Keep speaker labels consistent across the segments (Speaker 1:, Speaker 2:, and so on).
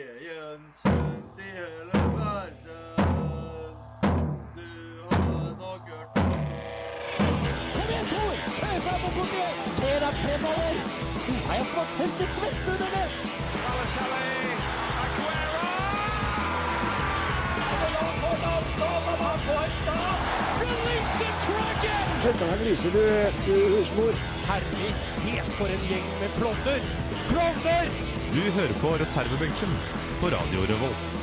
Speaker 1: Veien kjent i hele verden. Du har nok hørt om
Speaker 2: Kom igjen, Tor! Kjør fram og bort igjen! Se deg fremover! Du har jeg spart helt i svette under det! Høttehaug lyser du, du husmor.
Speaker 3: Herlighet, for en gjeng med klovner! Klovner!
Speaker 4: Du hører på reservebenken på Radio Revolt.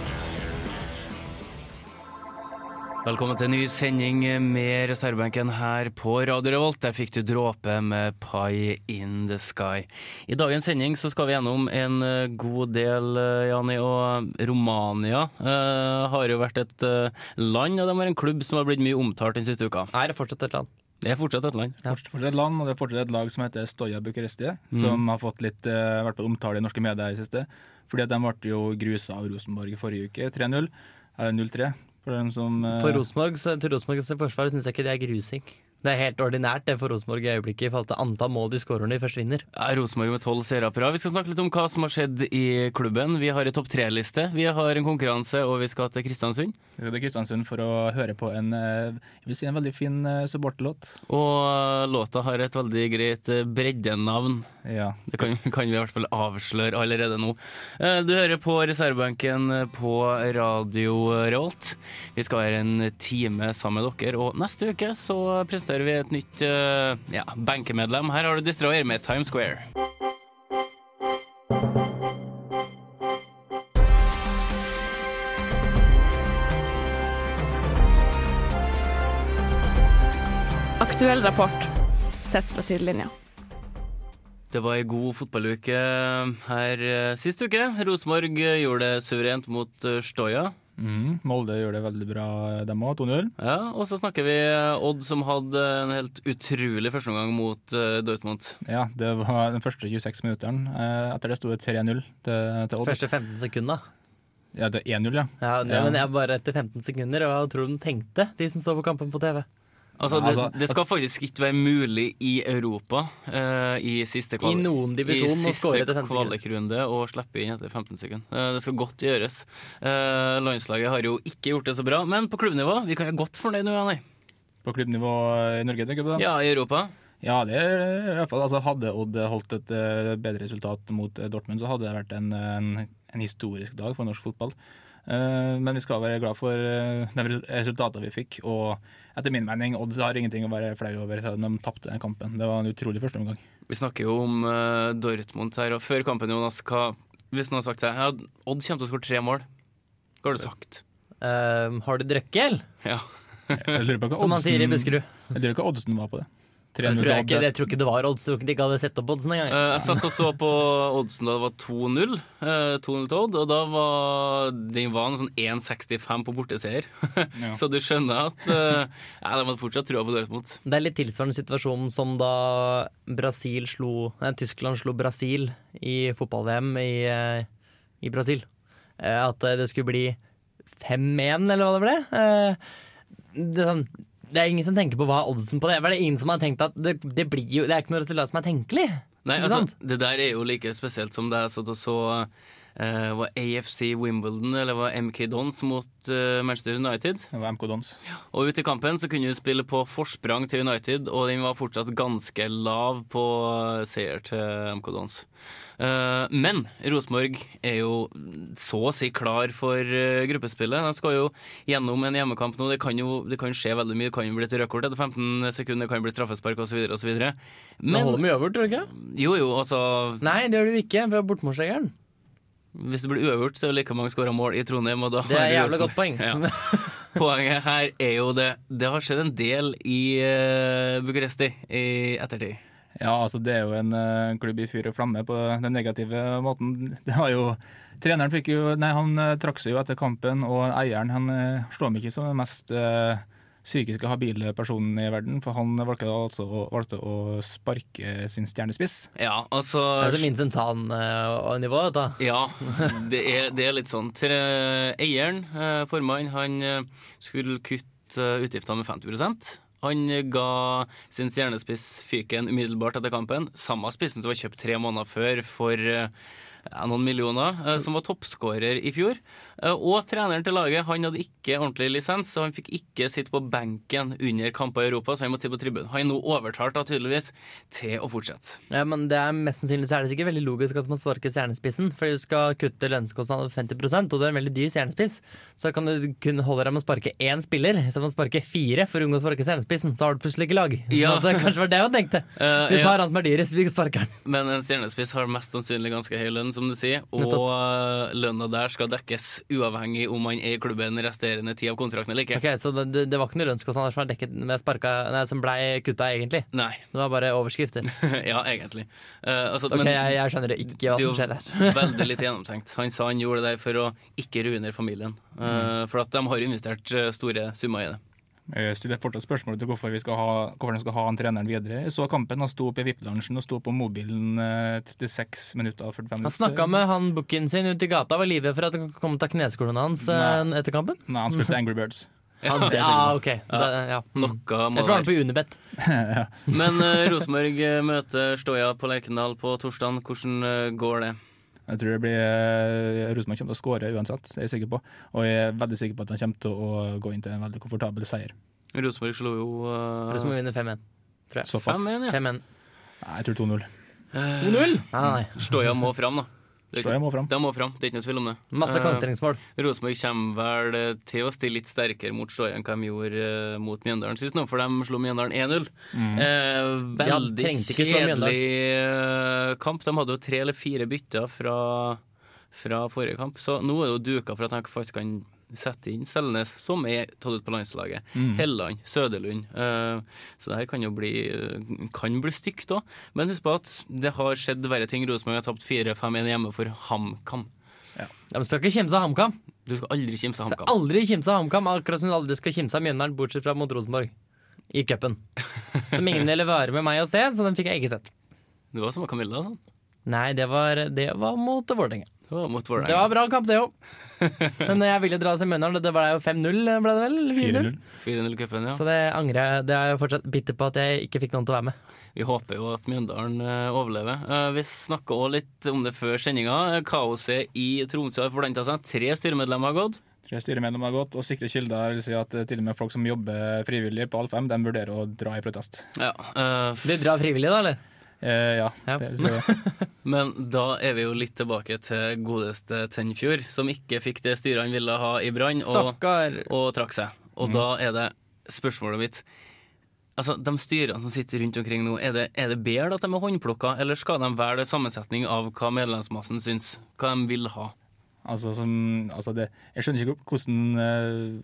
Speaker 5: Velkommen til en ny sending med reservebenken her på Radio Revolt. Der fikk du dråpe med Pie in the Sky. I dagens sending så skal vi gjennom en eh, god del, eh, Jani, og Romania eh, har jo vært et eh, land, og de har en klubb som har blitt mye omtalt den siste uka.
Speaker 6: Er det fortsatt et land?
Speaker 5: Det er fortsatt et land.
Speaker 7: Fortsatt fortsatt et land, og det er fortsatt et lag som heter Stoja Bucuresti,
Speaker 6: Mm.
Speaker 7: som har fått litt eh, i hvert fall omtale i norske medier i det siste. Fordi at de ble jo grusa av Rosenborg i forrige uke, 3-0. Eh, 0-3, for dem som eh,
Speaker 6: For Rosenborg, så, til Rosenborgs forsvar syns jeg ikke det er grusing. Det er helt ordinært det for Rosenborg i øyeblikket i forhold til antall mål de skårer når de først vinner.
Speaker 5: Ja, Rosenborg med tolv seere på rad. Vi skal snakke litt om hva som har skjedd i klubben. Vi har en topp tre-liste, vi har en konkurranse, og vi skal til Kristiansund.
Speaker 7: Vi skal til Kristiansund for å høre på en eh, jeg vil si en veldig fin eh, supporterlåt.
Speaker 5: Og eh, låta har et veldig greit eh, breddenavn.
Speaker 7: Ja.
Speaker 5: Det kan, kan vi i hvert fall avsløre allerede nå. Eh, Du hører på reservebenken på Radio Revolt. Vi skal være en time sammen med dere, og neste uke så presenterer vi et nytt eh, ja, benkemedlem. Her har du Destroyer med Times Square.
Speaker 8: Aktuell rapport sett fra sidelinja.
Speaker 5: Det var ei god fotballuke her eh, sist uke. Rosenborg eh, gjorde det suverent mot eh, Stoja.
Speaker 7: Mm, Molde gjør det veldig bra, eh, dem òg. 2-0.
Speaker 5: Ja, og så snakker vi eh, Odd, som hadde en helt utrolig førsteomgang mot eh, Dortmund.
Speaker 7: Ja, det var den første 26 minutteren. Eh, etter det sto det 3-0 til, til Odd.
Speaker 6: Første 15 sekunder.
Speaker 7: Ja, det er 1-0, ja.
Speaker 6: Ja, nei,
Speaker 7: Ja.
Speaker 6: Men jeg bare etter 15 sekunder, og hva tror du de tenkte, de som så på kampen på TV?
Speaker 5: Altså, det,
Speaker 7: Ja, altså-
Speaker 5: det skal faktisk ikke være mulig i Europa eh, i siste
Speaker 6: I
Speaker 5: kvalik.
Speaker 6: noen divisjon
Speaker 5: I
Speaker 6: må skåre
Speaker 5: siste
Speaker 6: etter 15 sekunder.
Speaker 5: kvalikrunde og slippe inn etter 15 sekunder. Eh, Det skal godt gjøres. Eh, Landslaget har jo ikke gjort det så bra, men på klubbnivå vi kan være godt fornøyd nå, Janne.
Speaker 7: På klubbnivå i Norge, tenker du på? det?
Speaker 5: Ja, i Europa.
Speaker 7: Ja, det er i hvert fall altså, Hadde Odd holdt et eh, bedre resultat mot eh, Dortmund, så hadde det vært en, eh, en, en historisk dag for norsk fotball. Eh, men vi skal være glad for eh, de res- resultatene vi fikk. Og etter min mening, Odd har ingenting å være flau over. selv om De tapte den kampen. Det var en utrolig første omgang.
Speaker 5: Vi snakker jo om eh, Dortmund her, og før kampen, Jonas, hva hvis noen har sagt til deg ja, Odd kommer til å skåre tre mål? Hva har du sagt?
Speaker 6: Ehm, har du drukket, eller?
Speaker 5: Ja.
Speaker 7: Jeg lurer på hva
Speaker 6: Som man sier i
Speaker 7: oddsen-
Speaker 6: Buskerud.
Speaker 7: Jeg tror ikke oddsen var på det.
Speaker 6: Jeg
Speaker 7: 300
Speaker 6: tror, jeg,
Speaker 7: Odd,
Speaker 6: ikke, jeg tror ikke det var odds, jeg tror ikke de ikke hadde sett opp oddsen
Speaker 5: Eh,
Speaker 6: engang.
Speaker 5: Jeg satt og så på oddsen da det var 2-0 eh, 2-0 til Odd, og da var den var en sånn 1,65 på borteseier.
Speaker 7: Ja.
Speaker 5: Så du skjønner at eh, ja, de hadde fortsatt trua på Dortmund.
Speaker 6: Det er litt tilsvarende situasjon som da Brasil slo, nei, Tyskland slo Brasil i fotball-VM i, eh, i Brasil. Eh, At eh, det skulle bli 5-1, eller hva det ble. Eh, Det, er sånn, det er ingen som tenker på hva er oddsen på det. Hva er Det ingen som har tenkt at det, det, blir jo, det er ikke noe resultat som er tenkelig.
Speaker 5: Nei,
Speaker 6: Ikke sant?
Speaker 5: altså, det der er jo like spesielt som det jeg satt og så eh, var AFC Wimbledon eller var MK Dons mot eh, Manchester United.
Speaker 7: Det var MK Dons.
Speaker 5: Og ute i kampen så kunne du spille på forsprang til United, og den var fortsatt ganske lav på eh, seier til MK Dons. Eh, men Rosenborg er jo så å si klar for eh, gruppespillet. De skal jo gjennom en hjemmekamp nå. Det kan jo det kan skje veldig mye. Det kan jo bli et rødt kort etter 15 sekunder, det kan bli straffespark osv. osv.
Speaker 6: Men
Speaker 5: Men
Speaker 6: holder vi øvert, tror du ikke?
Speaker 5: jo, jo, altså
Speaker 6: Nei, det gjør du ikke. Fra bortmålsregelen.
Speaker 5: Hvis det blir uavgjort, så er det like mange skåra mål i Trondheim, og da
Speaker 6: Det er
Speaker 5: har
Speaker 6: jævla godt poeng.
Speaker 5: Ja. Poenget her er jo det Det har skjedd en del i uh, Bucuresti i ettertid.
Speaker 7: Ja, altså det er jo en eh, klubb i fyr og flamme på den negative måten. Det var jo, treneren fikk jo, nei han eh, trakk seg jo etter kampen, og eieren han eh, slår meg ikke som den mest eh, psykisk habile personen i verden, for han valgte da altså å, valgte å sparke sin stjernespiss.
Speaker 5: Ja, altså
Speaker 6: Det er så Mincentan-nivå, dette.
Speaker 5: Ja, det er, det er litt sånn. Tre, eieren, eh, formannen, han eh, skulle kutte eh, utgiftene med 50 han eh, ga sin stjernespiss fyken umiddelbart etter kampen. Samme spissen som var kjøpt tre måneder før for eh, ja, noen millioner, eh, som var toppskårer i fjor. Eh, og treneren til laget han hadde ikke ordentlig lisens, så han fikk ikke sitte på benken under kamper i Europa, så han måtte sitte på tribunen. Han er nå overtalt da, tydeligvis til å fortsette.
Speaker 6: Ja, men det er mest sannsynlig så er det sikkert veldig logisk at man sparker stjernespissen, fordi du skal kutte lønnskostnaden med 50 og du er en veldig dyr stjernespiss. Så kan du kun holde deg med å sparke én spiller, istedenfor å sparke fire for å unngå å sparke stjernespissen. Så har du plutselig ikke lag. Så
Speaker 5: Ja.
Speaker 6: det kanskje var det man tenkte.
Speaker 5: Eh,
Speaker 6: Vi
Speaker 5: ja.
Speaker 6: tar han som er dyrest, vi sparker han.
Speaker 5: Men en stjernespiss har mest sannsynlig ganske høy lønn, som du sier, og eh, lønna der skal dekkes uavhengig om han er i klubben resterende tid av kontrakten eller ikke.
Speaker 6: Ok, Så det, det- det var ikke noen lønnskostnader som, er dekket med sparka, nei, som ble kutta, egentlig.
Speaker 5: Nei.
Speaker 6: Det var bare overskrifter.
Speaker 5: ja, egentlig. Eh, altså,
Speaker 6: Ok,
Speaker 5: men-
Speaker 6: jeg, jeg skjønner det
Speaker 5: Det
Speaker 6: ikke hva
Speaker 5: er
Speaker 6: som
Speaker 5: jo
Speaker 6: skjer her.
Speaker 5: veldig litt gjennomtenkt. Han sa han gjorde det der for å ikke ruinere familien. Eh,
Speaker 6: Mm.
Speaker 5: For at de har investert eh, store summer i det.
Speaker 7: Jeg stiller fortsatt spørsmål til hvorfor, vi skal ha, hvorfor de skal ha han treneren videre. Jeg så kampen, han sto oppe i VIP-lunsjen og sto på mobilen eh, 36 minutter og 45 minutter.
Speaker 6: Han snakka med han booken sin ute i gata, var livredd for at han kom til å ta kneskolen hans eh, etter kampen.
Speaker 7: Nei, han spilte Angry Birds.
Speaker 6: Ja, det, ah, ok. Da, ja.
Speaker 5: Noe må
Speaker 6: Mm. Jeg tror han er
Speaker 5: være.
Speaker 6: på Unibet.
Speaker 5: Men eh, Rosenborg eh, møter Stoja på Lerkendal på torsdag. Hvordan eh, går det?
Speaker 7: Jeg tror det blir eh, Rosenborg kommer til å skåre uansett, det er jeg sikker på. Og jeg er veldig sikker på at han kommer til å gå inn til en veldig komfortabel seier.
Speaker 5: Rosenborg slo jo eh,
Speaker 6: Rosenborg vinner 5-1.
Speaker 7: Såpass.
Speaker 5: 5-1, ja. Eh,
Speaker 6: 5-1.
Speaker 7: Nei, jeg tror 2-0.
Speaker 6: Nei, nei.
Speaker 5: Stoja må fram, da. Det-
Speaker 7: Slår jeg må fram.
Speaker 5: De må fram, det er ikke noe tvil om det.
Speaker 6: Masse
Speaker 5: Eh,
Speaker 6: kontringsmål.
Speaker 5: Rosenborg kommer vel eh, til å stille litt sterkere mot Stoja enn hva de gjorde eh, mot Mjøndalen sist, nå, for de slo Mjøndalen 1-0. Eh,
Speaker 6: Ja,
Speaker 5: veldig
Speaker 6: trengte ikke slå Mjøndalen.
Speaker 5: kjedelig eh, kamp. De hadde jo tre eller fire bytter fra, fra forrige kamp, så nå er det jo duka for at de faktisk kan sette inn Selnes, som er tatt ut på landslaget. Helland, Søderlund. eh, så det her kan jo bli, eh, kan bli stygt òg. Men husk på at det har skjedd verre ting. Rosenborg har tapt 4-5-1 hjemme for HamKam.
Speaker 6: Ja, men skal ikke kimse av HamKam.
Speaker 5: Du skal aldri kimse av HamKam.
Speaker 6: Aldri kimse av HamKam, akkurat som du aldri skal kimse av Mjøndalen, bortsett fra mot Rosenborg. I cupen. Som ingen ville være med meg å se, så den fikk jeg ikke sett.
Speaker 5: Det var som med Camilla. Sånn.
Speaker 6: Nei, det var, det var mot Vålerenga.
Speaker 5: Det var mot
Speaker 6: Det
Speaker 5: Vålerenga.
Speaker 6: var bra kamp, det òg. Men jeg ville dra og se Mjøndalen, og det ble jo 5-0, ble det vel? Eller 4-0.
Speaker 7: 4-0.
Speaker 5: 4-0-cupen, ja.
Speaker 6: Så det angrer jeg. Det er jeg fortsatt bitter på at jeg ikke fikk noen til å være med.
Speaker 5: Vi håper jo at Mjøndalen eh, overlever. Eh, vi snakka òg litt om det før sendinga. Kaoset i Tromsø har forplanta seg. Tre styremedlemmer har gått.
Speaker 7: Tre styremedlemmer har gått, og sikre kilder vil si at eh, til og med folk som jobber frivillig på Alf M, de vurderer å dra i protest.
Speaker 5: Ja, eh, f-
Speaker 6: Du drar frivillig, da, eller?
Speaker 7: Eh, ja,
Speaker 6: Ja.
Speaker 7: Det, vil si det.
Speaker 5: men da er vi jo litt tilbake til godeste Tenfjord, som ikke fikk det styret han ville ha i Brann, og,
Speaker 6: Stakkar. Mm.
Speaker 5: og trakk seg. Og da er det spørsmålet mitt Altså, De styrene som sitter rundt omkring nå, er det, er det bedre at de er håndplukka, eller skal de være det sammensetning av hva medlemsmassen syns? Hva de vil ha?
Speaker 7: altså, som, altså det, jeg skjønner ikke hvordan eh,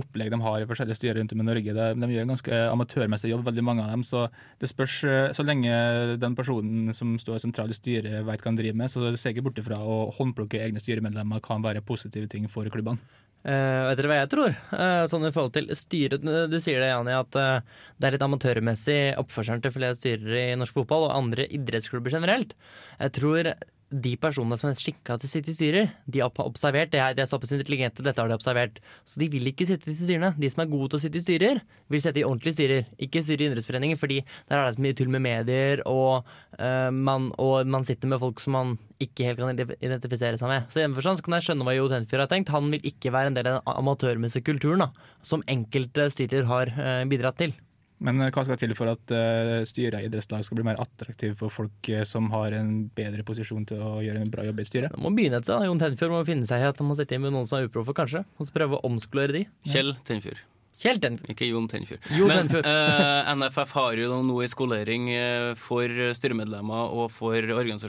Speaker 7: opplegg de har i forskjellige styrer rundt om i Norge. De, de gjør en ganske eh, amatørmessig jobb, veldig mange av dem. Så det spørs eh, så lenge den personen som står sentralt i styret vet hva han driver med, så ser jeg ikke bort ifra å håndplukke egne styremedlemmer kan være positive ting for klubbene.
Speaker 6: Eh, vet dere hva jeg tror? Eh, sånn i forhold til styret Du sier det, Jani, at eh, det er litt amatørmessig oppførselen til flere styrere i norsk fotball og andre idrettsklubber generelt. Jeg tror de personene som er skikka til å sitte i styrer, de har observert det her. De er såpass intelligente, dette har de observert. Så de vil ikke sitte i styrene. De som er gode til å sitte i styrer, vil sitte i ordentlige styrer. Ikke styre i idrettsforeninger, fordi der er det så mye tull med medier, og, eh, man, og man sitter med folk som man ikke helt kan identif- identifisere seg med. Så i den forstand så kan jeg skjønne hva Jo Tenfjord har tenkt. Han vil ikke være en del av den amatørmessige kulturen da, som enkelte styrer har eh, bidratt til.
Speaker 7: Men eh, hva skal til for at eh, styret i idrettslag skal bli mer attraktiv for folk eh, som har en bedre posisjon til å gjøre en bra jobb i et styre?
Speaker 6: Det må begynne et sted. da. Jo Tenfjord må finne seg i at han må sitte inn med noen som er uproffe, kanskje, og så prøve å omskolere de.
Speaker 5: Kjell Tenfjord.
Speaker 6: Kjell Tenfjord.
Speaker 5: Ikke Jon Tenfjord.
Speaker 6: Jo
Speaker 5: Men
Speaker 6: Tenfjord.
Speaker 5: eh, NFF har jo noe i skolering eh, for styremedlemmer og for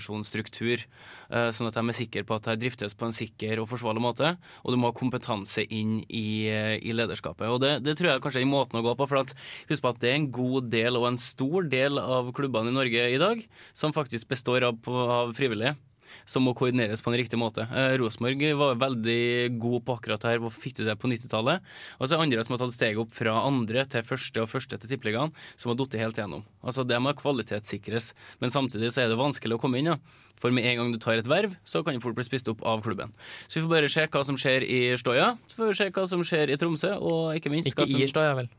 Speaker 5: organisasjonsstruktur, eh, sånn at de er sikre på at det driftes på en sikker og forsvarlig måte. Og du må ha kompetanse inn i, eh, i lederskapet. Og det, det tror jeg kanskje er måten å gå på. For at, husk på at det er en god del og en stor del av klubbene i Norge i dag som faktisk består av, av frivillige som må koordineres på en riktig måte. Eh, Rosenborg var veldig god på akkurat det her, og fikk til det på 90-tallet. Og så er det andre som har tatt steget opp fra andre til første og første til tippeligaen, som har falt helt gjennom. Altså, det må kvalitetssikres, men samtidig så er det vanskelig å komme inn, ja. For med en gang du tar et verv, så kan du fort bli spist opp av klubben. Så vi får bare se hva som skjer i Stoja, så får vi se hva som skjer i Tromsø, og ikke minst
Speaker 6: Ikke
Speaker 5: hva som
Speaker 6: Irstad, ja vel.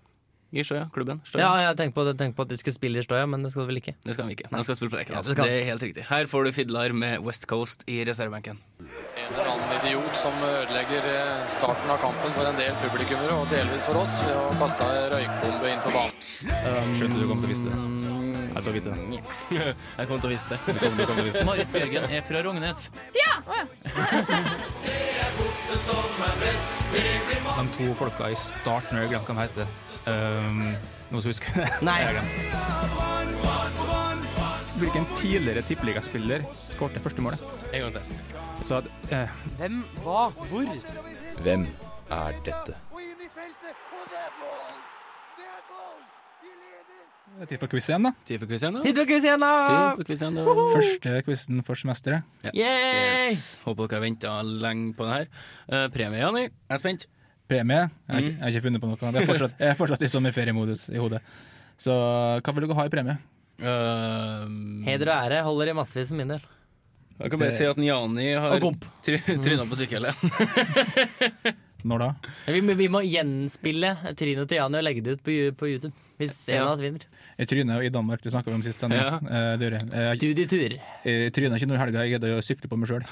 Speaker 5: i Støya, klubben. Støya.
Speaker 6: Ja, jeg tenkte på, tenkte på at de skulle spille i Støya, men det skal de vel ikke.
Speaker 5: Det skal vi ikke. Han skal spille på Lerkendal.
Speaker 6: Ja, det skal
Speaker 5: det er helt riktig. Her får du Fidlar med West Coast i reservebenken.
Speaker 9: En eller annen idiot som ødelegger eh, starten av kampen for en del publikummere, og delvis for oss, ved å kaste ei røykbombe inn på banen.
Speaker 7: Skjønte du kom til å vise det. Jeg kom til å vite det.
Speaker 3: Jeg kommer til å vise det.
Speaker 7: Du kom, du kom til å vite det.
Speaker 5: Marit Bjørgen er fra Rognes.
Speaker 8: Ja! Å, ja.
Speaker 7: De to folka i starten, jeg glemte hva de heter. Um, noen som husker det?
Speaker 6: Nei.
Speaker 7: Jeg har glemt. Hvilken tidligere tippeligaspiller skåret det første målet?
Speaker 5: En gang til.
Speaker 7: Så at, eh,
Speaker 6: Hvem, hva, hvor?
Speaker 10: Hvem er dette?
Speaker 7: det er tid for quiz igjen, da.
Speaker 5: Tid for quiz igjen, da.
Speaker 6: Hit og quiz igjen, da!
Speaker 5: Tid for quiz igjen, da.
Speaker 7: Første quizen for semesteret.
Speaker 6: Yay!
Speaker 5: Yes. Håper dere har venta lenge på det her. Eh, premie, Jani. Jeg er spent.
Speaker 7: Premie. Jeg har ikke, jeg har ikke funnet på noe. Jeg er fortsatt, jeg er fortsatt i sommerferiemodus i hodet. Så hva vil dere ha i premie?
Speaker 5: Eh,
Speaker 6: Heder og ære holder i massevis for min del.
Speaker 5: jeg kan bare si at Jani har
Speaker 6: Og gomp.
Speaker 5: try- tryna på sykehjellet.
Speaker 7: Når da?
Speaker 6: Vi, må- vi må gjenspille Trino til Jani og legge det ut på, Ju- på YouTube. Hvis en
Speaker 5: Ja.
Speaker 6: av oss vinner.
Speaker 7: I Tryne og i Danmark, det snakka vi om sist. Denne.
Speaker 5: Ja.
Speaker 7: Eh, det gjør jeg. Eh,
Speaker 6: Studietur.
Speaker 7: Jeg tryna ikke noen helger, jeg gidder å sykle på meg sjøl.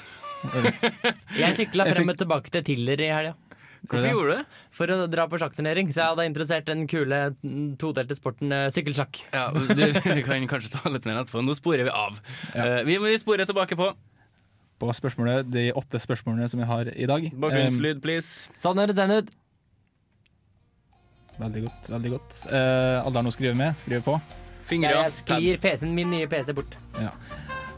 Speaker 6: Jeg sykla
Speaker 7: Jeg
Speaker 6: frem og tilbake til Tiller i helga.
Speaker 5: Hvorfor gjorde du det?
Speaker 6: For å dra på sjakkturnering, så jeg hadde interessert den kule mm, todelte sporten eh, sykkelsjakk.
Speaker 5: Ja, du vi kan kanskje ta litt mer etterpå. Nå sporer vi av. Eh, vi må spore tilbake på.
Speaker 7: På spørsmålet, de åtte spørsmålene som jeg har i dag. Ehm,
Speaker 5: Bakgrunnslyd, please.
Speaker 6: Sånn høres den ut.
Speaker 7: Eh, veldig godt. veldig godt. Eh, alle har noe å skrive med. Skriv på.
Speaker 5: Fingre.
Speaker 6: Jeg sklir PC-en min nye PC bort.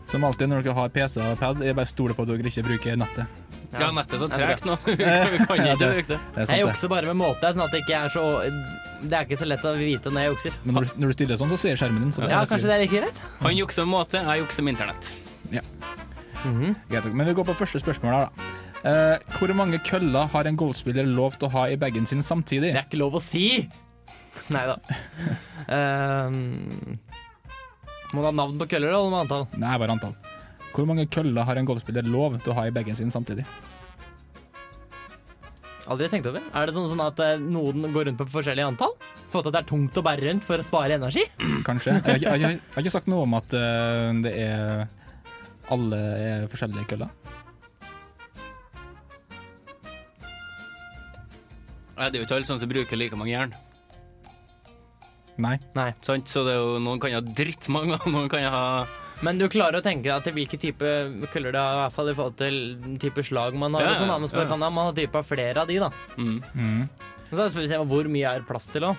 Speaker 7: Som alltid når dere har PC og pad, jeg bare stoler på at dere ikke bruker nettet.
Speaker 5: Ja, Sånn nettet er så
Speaker 6: Ja, det er
Speaker 5: tregt nå. Vi kan ikke bruke det.
Speaker 7: Det er
Speaker 6: Jeg
Speaker 7: sant,
Speaker 6: jukser bare med måte, sånn at det ikke er så Det er ikke så lett å vite når jeg jukser.
Speaker 7: det. Men når du, når du stiller sånn, så ser skjermen din. Så
Speaker 6: Ja, kanskje det er like greit?
Speaker 5: Han jukser med måte, jeg jukser med internett.
Speaker 7: Greit nok. Men vi går på første spørsmål her, da. Eh, hvor mange køller har en golfspiller lov til å ha i bagen sin samtidig?
Speaker 6: Det er ikke lov å si! Nei da. Um, må du ha navn på køller eller må du ha antall?
Speaker 7: Nei, bare antall. Hvor mange køller har en golfspiller lov til å ha i bagen sin samtidig?
Speaker 6: Aldri tenkt over. Er det sånn, sånn at eh, noen går rundt på forskjellige antall? Fått at det er tungt å bære rundt for å spare energi?
Speaker 7: Kanskje. Jeg har, ikke- jeg, har, ikke- jeg har ikke sagt noe om at eh, det er alle er forskjellige køller.
Speaker 5: Nei, Det er jo ikke alle sånne som bruker like mange jern.
Speaker 7: Nei.
Speaker 5: Sant? Så det er jo, noen kan jo ha drittmange, og noen kan jo ha
Speaker 6: Men du klarer å tenke deg til hvilke type køller det er, i hvert fall i forhold til type slag man har.
Speaker 5: Ja,
Speaker 6: og sånn, da. Men så
Speaker 5: ja.
Speaker 6: kan man ha type av flere av de, da.
Speaker 5: mm.
Speaker 7: Mm.
Speaker 6: Men da spør vi seg, Hvor mye er plass til, da?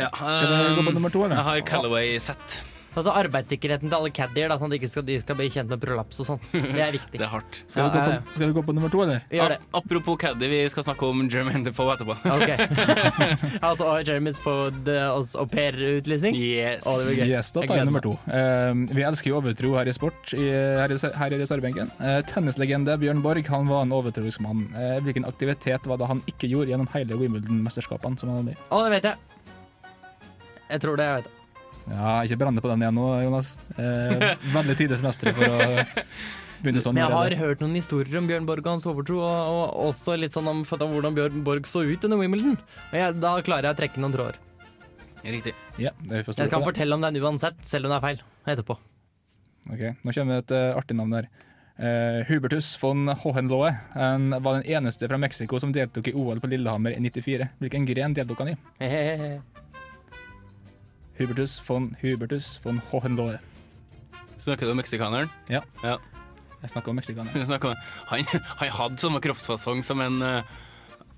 Speaker 5: ja, um,
Speaker 7: Skal vi gå på nummer to, eller?
Speaker 5: Jeg har Callaway-sett.
Speaker 6: Altså Arbeidssikkerheten til alle caddier, da, sånn at de ikke skal, de skal bli kjent med prolaps og sånn. Det er viktig.
Speaker 5: Det er hardt.
Speaker 7: Skal,
Speaker 6: Ja,
Speaker 7: vi gå
Speaker 6: ja,
Speaker 7: på, skal vi gå på nummer to, eller?
Speaker 6: ja. Gjør det.
Speaker 5: Ap- Apropos caddy, vi skal snakke om Jermaine Defoe etterpå.
Speaker 6: OK. altså og Jeremys på det, oss au pair-utlysning.
Speaker 5: Yes.
Speaker 6: Å, det blir gøy.
Speaker 7: Yes, da
Speaker 6: Jeg
Speaker 7: tar
Speaker 6: gleder
Speaker 7: jeg nummer to. Eh, vi elsker jo overtro her i sport, i, her, i, her i reservebenken. Eh, tennislegende Bjørn Borg han var en overtroisk mann. Eh, hvilken aktivitet var det han ikke gjorde gjennom hele Wimbledon-mesterskapene? som han hadde med?
Speaker 6: Å, det vet jeg. Jeg tror det jeg vet. det.
Speaker 7: Ja, Ikke brenne på den igjen nå, Jonas. Eh, veldig tides mestere for å begynne sånn.
Speaker 6: Men jeg har
Speaker 7: allerede.
Speaker 6: hørt noen historier om Bjørn Borg og hans overtro, og, og også litt sånn om, for da hvordan Bjørn Borg så ut under Wimbledon. Og jeg, da klarer jeg å trekke noen tråder.
Speaker 5: Riktig.
Speaker 7: Ja, det vi får stole
Speaker 6: Jeg kan
Speaker 7: på. det.
Speaker 6: fortelle om den uansett, selv om det er feil. Etterpå.
Speaker 7: Ok, Nå kommer et eh, artig navn der. Eh, Hubertus von Hohenlohe han var den eneste fra Mexico som deltok i OL på Lillehammer i 94. Hvilken gren deltok han i? Hubertus von Hubertus von Hohenlohe.
Speaker 5: Snakker du om meksikaneren?
Speaker 7: Jeg snakker om meksikanere.
Speaker 5: Vi snakker om- Han, han hadde samme kroppsfasong som en eh,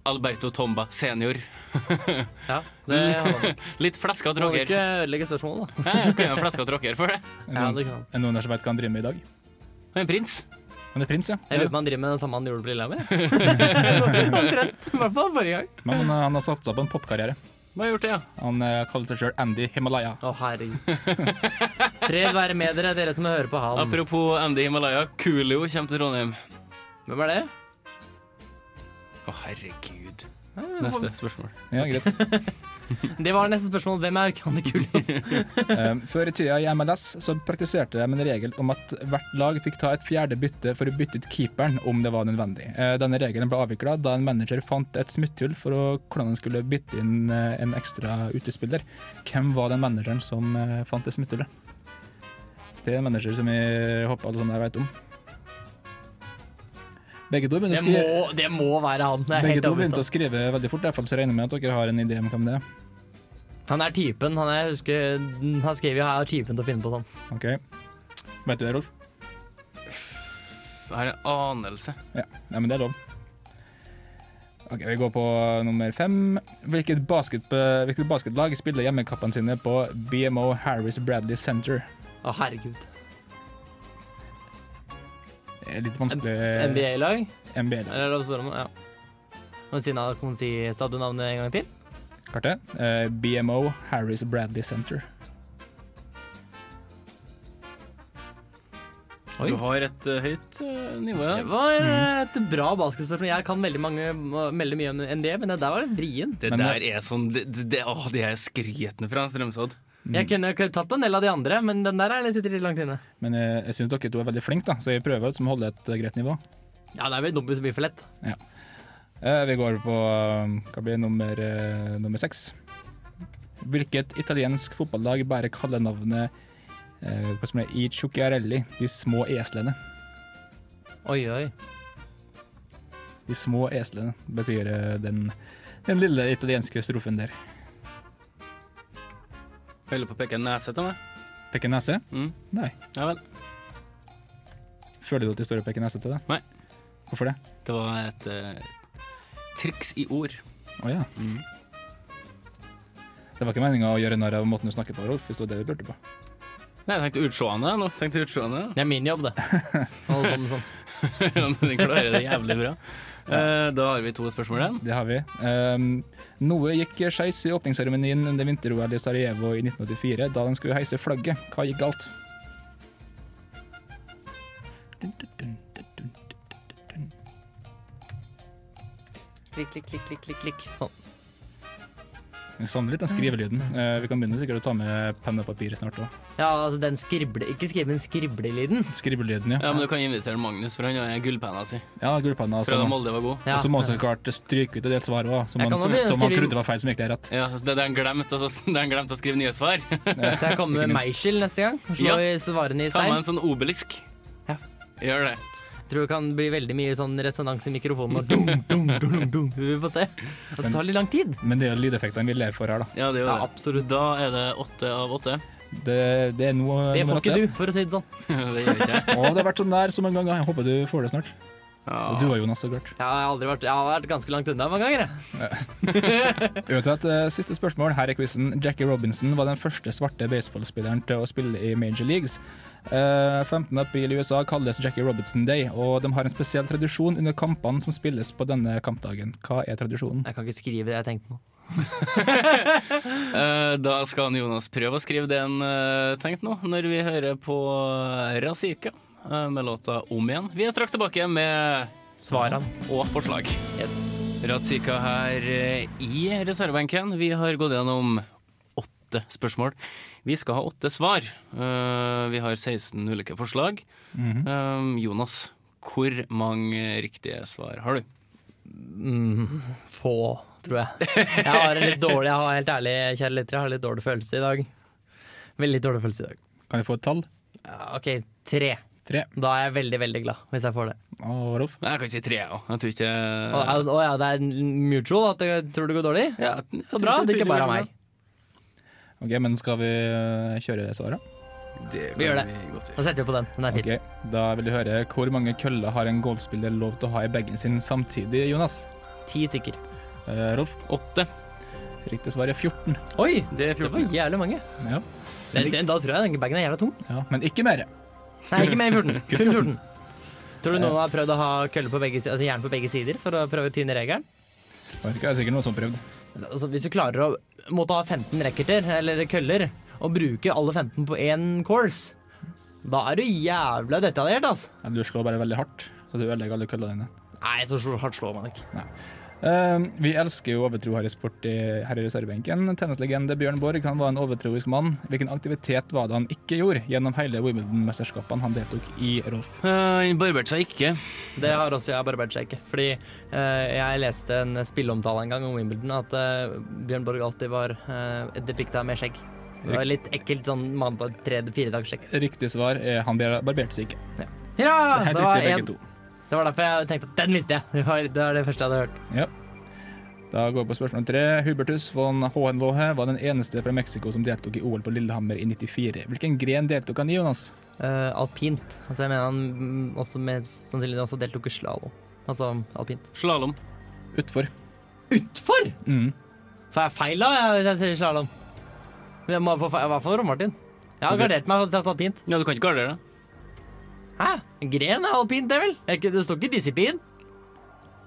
Speaker 5: Alberto Tomba senior.
Speaker 6: Ja, det
Speaker 5: Litt fleskete
Speaker 6: Må
Speaker 5: rocker.
Speaker 6: ikke ødelegge spørsmålet, da.
Speaker 5: Ja, jeg kunne ha fleskete rocker for det.
Speaker 7: Er
Speaker 6: Ja,
Speaker 7: noen-
Speaker 6: det kan.
Speaker 7: er noen der som vet hva han driver med i dag?
Speaker 5: Han er en prins.
Speaker 7: Han er prins, ja.
Speaker 6: Jeg lurer på om han driver med den samme han gjorde på Lillehammer. Omtrent. I hvert fall forrige gang.
Speaker 7: Men han, han har satsa på en popkarriere.
Speaker 5: Hva har jeg gjort det, ja?
Speaker 7: Han eh, kaller seg sjøl Andy Himalaya.
Speaker 6: Å, herregud. Fred være med dere, dere som hører på han.
Speaker 5: Apropos Andy Himalaya, Coolio kommer til Trondheim.
Speaker 6: Hvem er det?
Speaker 7: Ah.
Speaker 5: Å, herregud. Neste spørsmål.
Speaker 7: Ja, greit.
Speaker 6: Det var neste spørsmål. Hvem er Kani Kulin?
Speaker 7: Eh, Før i tida i MLS så praktiserte de en regel om at hvert lag fikk ta et fjerde bytte for å bytte ut keeperen om det var nødvendig. Eh, Denne regelen ble avvikla da en manager fant et smutthull for å, hvordan han skulle bytte inn eh, en ekstra utespiller. Hvem var den manageren som eh, fant det smutthullet? Det er en manager som jeg håper alle sammen her vet om. Begge to begynte
Speaker 6: Det
Speaker 7: å
Speaker 6: må,
Speaker 7: skrive,
Speaker 6: det må være han. Det er
Speaker 7: begge
Speaker 6: helt
Speaker 7: to begynte å
Speaker 6: overbevist.
Speaker 7: skrive veldig fort, i hvert fall så regner jeg med at dere har en idé om hvem det er.
Speaker 6: om. Han er typen. Han er, jeg husker, han skrev jo her typen til å finne på sånn.
Speaker 7: Ok. Vet du det, Rolf?
Speaker 5: Jeg har en anelse.
Speaker 7: Ja, nei, men det er lov. Ok, Vi går på nummer fem. Hvilket, basket, hvilket basketlag spiller hjemmekappene sine på BMO Harris Bradley Center?
Speaker 6: Å, herregud.
Speaker 7: Det er Litt vanskelig
Speaker 6: Eh. NBA-lag?
Speaker 7: NBA-lag.
Speaker 6: Eller lov å spørre om? Ja. Og siden av kan hun si Sa du navnet en gang til?
Speaker 7: Kartet. Eh, BMO Harris Bradley Center.
Speaker 6: Oi.
Speaker 5: Du har et eh, høyt eh, nivå.
Speaker 6: Det
Speaker 5: Ja.
Speaker 6: var et bra basketspørsmål. Jeg kan veldig, mange, veldig mye om NBA, men det der var litt vrien.
Speaker 5: Det
Speaker 7: Men
Speaker 5: der er sånn Det, det, det- åh, det er skrytende fra Strømsodd.
Speaker 6: Jeg kunne jo tatt en del av de andre, men den der er litt, sitter litt langt inne.
Speaker 7: Men eh, jeg syns dere to er veldig flinke, da, så jeg prøver liksom å holde et eh, greit nivå.
Speaker 6: Ja, det er vel dobbelt så mye for lett.
Speaker 7: Eh, vi går på eh, hva blir nummer, eh, nummer seks. Hvilket italiensk fotballag bærer kallenavnet eh, hva som er I Ciucciarelli, De små eslene?
Speaker 6: Oi, oi.
Speaker 7: De små eslene betyr eh, den, den lille italienske strofen der.
Speaker 5: Holder på å peke en nese til meg.
Speaker 7: Peker nese?
Speaker 5: Mm.
Speaker 7: Nei.
Speaker 5: Ja vel.
Speaker 7: Føler du at de står og peker nese til deg?
Speaker 5: Nei.
Speaker 7: Hvorfor det?
Speaker 5: Det var et eh, triks i ord.
Speaker 7: Å ja.
Speaker 5: Mm.
Speaker 7: Det var ikke meninga å gjøre narr av måten du snakker på, Rolf. Hvis det var det vi burde på.
Speaker 5: Nei, jeg tenkte utseende nå. Tenkte utseende.
Speaker 6: Det er min jobb, det. Å Holde på med sånn.
Speaker 5: Ja, men Den klarer det jævlig bra. Eh, Da har vi to spørsmål igjen.
Speaker 7: Det har vi. Ehm, noe gikk skeis i åpningsseremonien under vinter-OL i Sarajevo i 1984, da de skulle heise flagget. Hva gikk galt?
Speaker 6: Klikk, klikk, klikk, klikk, klikk, klikk. Sånn.
Speaker 7: Jeg savner litt den skrivelyden. Eh, vi kan begynne sikkert å ta med penn og papir snart òg.
Speaker 6: Ja, altså den skrible... Ikke skrive, men skriblelyden.
Speaker 7: Skrivelyden,
Speaker 5: Ja,
Speaker 7: ja.
Speaker 5: men Du kan invitere Magnus, for han har gullpenna si.
Speaker 7: Ja, gullpanna.
Speaker 5: Fra da
Speaker 7: sånn.
Speaker 5: Molde var god.
Speaker 6: Ja.
Speaker 7: Og så må man så klart stryke ut en del svar også, som
Speaker 6: Jeg kan
Speaker 7: man,
Speaker 6: da begynne å
Speaker 7: som man
Speaker 6: skrive inn-
Speaker 7: trodde var feil, som egentlig er rett.
Speaker 5: Ja, så det, det han glemte å, altså, det han glemte å skrive nye svar.
Speaker 6: Så jeg kommer
Speaker 7: Ikke
Speaker 6: med
Speaker 7: minst.
Speaker 6: Meichel neste gang. Slå
Speaker 5: Ja.
Speaker 6: i svarene i
Speaker 5: Ta med
Speaker 6: stein.
Speaker 5: en sånn obelisk.
Speaker 6: Ja.
Speaker 5: Gjør det.
Speaker 6: Tror det kan bli veldig mye sånn resonans i mikrofonen. Og dum, dum, dum, dum, dum. Vi får se. Altså, det tar litt lang tid.
Speaker 7: Men det er jo lydeffektene vi lever for her, da.
Speaker 5: Ja, det er jo
Speaker 6: Ja,
Speaker 5: det.
Speaker 6: absolutt.
Speaker 5: Da er det åtte av åtte.
Speaker 7: Det, det er noe
Speaker 6: Det
Speaker 7: nummer
Speaker 6: får ikke
Speaker 7: åtte.
Speaker 6: du, for å si det sånn.
Speaker 5: det gjør ikke jeg.
Speaker 7: Å, det har vært så nær så mange ganger. Jeg håper du får det snart. Og du
Speaker 5: Ja.
Speaker 7: og Jonas, så klart.
Speaker 6: Ja, Jeg har aldri vært Jeg har vært ganske langt unna mange ganger, jeg.
Speaker 7: Uansett, eh, siste spørsmål her i quizen. Jackie Robinson var den første svarte baseballspilleren til å spille i major leagues. Eh, 15. april i USA kalles Jackie Robinson Day, og de har en spesiell tradisjon under kampene som spilles på denne kampdagen. Hva er tradisjonen?
Speaker 6: Jeg kan ikke skrive det jeg tenkte nå.
Speaker 5: Eh, Da skal han Jonas prøve å skrive det han eh, tenkte nå, når vi hører på Razika eh, med låta Om igjen. Vi er straks tilbake med
Speaker 6: Svarene.
Speaker 5: og forslag.
Speaker 6: Yes.
Speaker 5: Ratzika her eh, i reservebenken. Vi har gått gjennom åtte spørsmål. Vi skal ha åtte svar. Eh, Vi har 16 ulike forslag.
Speaker 6: Mhm.
Speaker 5: Eh, Jonas, hvor mange riktige svar har du?
Speaker 6: Mm, Få, tror jeg. Jeg har en litt dårlig Jeg har helt ærlig, kjære lyttere, jeg har litt dårlig følelse i dag. Veldig dårlig følelse i dag.
Speaker 7: Kan jeg få et tall?
Speaker 6: Ja, OK, tre.
Speaker 7: Tre.
Speaker 6: Da er jeg veldig, veldig glad, hvis jeg får det.
Speaker 7: Og Rolf?
Speaker 5: Nei, Jeg kan si tre, jeg òg. Jeg tror ikke
Speaker 6: Å al- å ja, det er mutual at jeg tror det går dårlig?
Speaker 5: Ja, jeg
Speaker 6: Så
Speaker 5: tror
Speaker 6: bra, det er
Speaker 5: tror
Speaker 6: ikke bare
Speaker 5: blir så
Speaker 6: meg.
Speaker 7: Ok, men skal vi eh, kjøre svaret?
Speaker 5: bra. Det
Speaker 6: Vi gjør
Speaker 5: kan
Speaker 6: det.
Speaker 5: vi godt gjøre.
Speaker 6: Da setter vi på den. Den er fin.
Speaker 7: Ok, Da vil du høre hvor mange køller har en golfspiller lov til å ha i bagen sin samtidig, Jonas?
Speaker 6: Ti stykker.
Speaker 7: Eh, Rolf,
Speaker 5: Åtte.
Speaker 7: riktig svar er 14.
Speaker 6: Oi!
Speaker 5: Det er
Speaker 6: Det
Speaker 5: 14.
Speaker 6: var jævlig mange.
Speaker 7: Ja,
Speaker 6: Den, den, da tror jeg den bagen er jævla tung.
Speaker 7: ja Men ikke mer.
Speaker 6: Nei, ikke mer enn 14. Kun Eh. 14. Tror du noen har prøvd å ha kølle på begge, si- altså jern på begge sider for å prøve å tyne regelen?
Speaker 7: Jeg vet ikke, det er sikkert noen som har prøvd.
Speaker 6: Altså, hvis du klarer å måtte ha 15 racketer, eller køller, og bruke alle 15 på én course, da er du jævla detaljert, altså.
Speaker 7: Ja, Du slår bare veldig hardt, så du ødelegger alle køllene dine.
Speaker 6: Nei, så sl- hardt slår man ikke.
Speaker 7: Eh, vi elsker jo overtro her i sport i, her i reservebenken. Tennislegende Bjørn Borg han var en overtroisk mann. Hvilken aktivitet var det han ikke gjorde gjennom hele Wimbledon-mesterskapene han deltok i, Rolf?
Speaker 5: Eh, Han barberte seg ikke.
Speaker 6: Det har også jeg barbert seg ikke. Fordi eh, jeg leste en spilleomtale en gang om Wimbledon at eh, Bjørn Borg alltid var eh, depikta med skjegg. Det var litt ekkelt sånn mandag, tredje, fire dagers skjegg.
Speaker 7: Riktig svar er han bar- barberte seg ikke.
Speaker 6: Ja,
Speaker 7: Helt
Speaker 6: det var,
Speaker 7: riktig,
Speaker 6: en,
Speaker 7: begge to.
Speaker 6: det var derfor jeg tenkte at den visste jeg! Det var det, var det første jeg hadde hørt.
Speaker 7: Da går vi på spørsmål tre. Hubertus von Hohenlohe var den eneste fra Mexico som deltok i OL på Lillehammer i 94. Hvilken gren deltok han i, Jonas?
Speaker 6: Eh, alpint. Altså, jeg mener han mm, også med, sannsynligvis også deltok i slalåm. Altså alpint.
Speaker 5: Slalåm.
Speaker 7: Utfor.
Speaker 6: Utfor!
Speaker 7: Mm.
Speaker 6: Får jeg feil da, jeg- hvis jeg sier slalåm? Jeg må få feil, i hvert fall Ron Martin. Jeg har gardert meg og sagt alpint.
Speaker 5: Ja, du kan ikke gardere deg.
Speaker 6: Hæ? Gren er alpint, det vel? Er ikke- Det står ikke disiplin.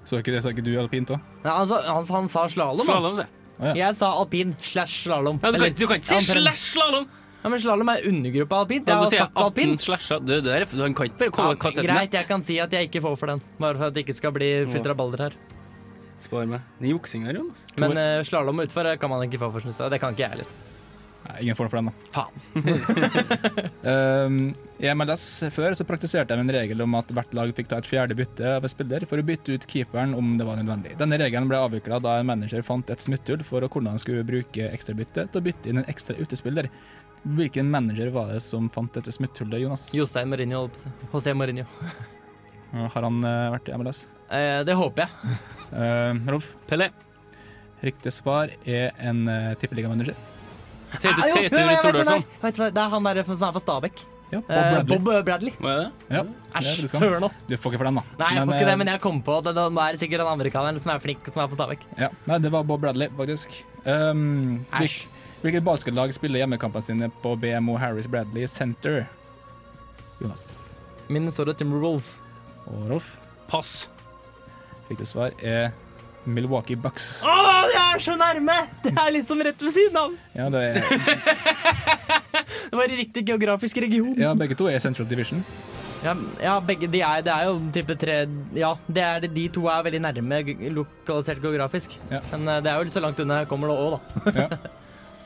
Speaker 7: Så ikke, det, så ikke du alpint òg?
Speaker 6: Nei, han, sa, han, han sa slalåm. da.
Speaker 5: Slalåm, sier jeg.
Speaker 6: Jeg sa alpin slash slalåm.
Speaker 5: Ja, du,
Speaker 6: Eller-
Speaker 5: kan, du kan ikke si
Speaker 6: Eller-
Speaker 5: slash slalåm!
Speaker 6: Ja, men slalåm er undergruppe alpint. Jeg
Speaker 5: Ja,
Speaker 6: har
Speaker 5: du sier
Speaker 6: sagt alpin.
Speaker 5: 18 slasha. Du, det er, du kan ikke bare
Speaker 6: Ja,
Speaker 5: komme og kaste et nett.
Speaker 6: greit, jeg kan si at jeg ikke får for den. Bare for at det ikke skal bli fullt rabalder her.
Speaker 5: Spar meg. Den juksinga, Jonas.
Speaker 6: Men uh, slalåm utfor eh, kan man ikke få for, synes jeg. Det kan ikke jeg heller.
Speaker 7: Nei, ingen form for den, da.
Speaker 6: Faen.
Speaker 7: Um, I MLS før så praktiserte de en regel om at hvert lag fikk ta et fjerde bytte av en spiller for å bytte ut keeperen om det var nødvendig. Denne regelen ble avvikla da en manager fant et smutthull for hvordan han skulle bruke ekstrabyttet til å bytte inn en ekstra utespiller. Hvilken manager var det som fant dette smutthullet, Jonas?
Speaker 6: Jostein Mourinho. holdt på å si. José Mourinho.
Speaker 7: Har han eh, vært i MLS?
Speaker 6: Eh, det håper jeg.
Speaker 7: Eh, Rolf,
Speaker 5: Pelle.
Speaker 7: riktig svar er en uh, tippeligamanager.
Speaker 5: Tete
Speaker 6: Ah, jo, jo,
Speaker 5: Tete
Speaker 6: jo, jeg vet hvem det er.
Speaker 5: Tordarsson.
Speaker 6: Jeg vet hvem det er. Det er han der som er fra Stabekk.
Speaker 7: Ja, Bob
Speaker 6: Eh,
Speaker 7: Bradley.
Speaker 6: Bob Bradley.
Speaker 5: Hva er det?
Speaker 7: Ja, det er
Speaker 6: Æsj,
Speaker 7: det du skal.
Speaker 6: søren òg.
Speaker 7: Du får ikke for den, da.
Speaker 6: Nei, jeg får ikke det,
Speaker 7: eh,
Speaker 6: men jeg kom på at det, det er sikkert han amerikaneren som er flink, som er på Stabekk.
Speaker 7: Ja, nei, det var Bob Bradley, faktisk. Um,
Speaker 6: Æsj.
Speaker 7: hvilk- Hvilket basketlag spiller hjemmekampene sine på BMO Harris Bradley Center? Jonas
Speaker 6: Minnesota Timberwolves.
Speaker 7: og Rolf.
Speaker 5: Pass.
Speaker 7: Riktig svar er Milwaukee Bucks.
Speaker 6: Å, det er så nærme! Det er liksom rett ved siden av.
Speaker 7: Ja, det er,
Speaker 6: Det var i riktig geografisk region.
Speaker 7: ja, begge to er Central Division.
Speaker 6: Ja, ja begge de er Det er jo type tre Ja, det er det, de to er veldig nærme ge- lokalisert geografisk.
Speaker 7: Ja.
Speaker 6: Men eh, det er jo så langt unna jeg kommer det òg, da.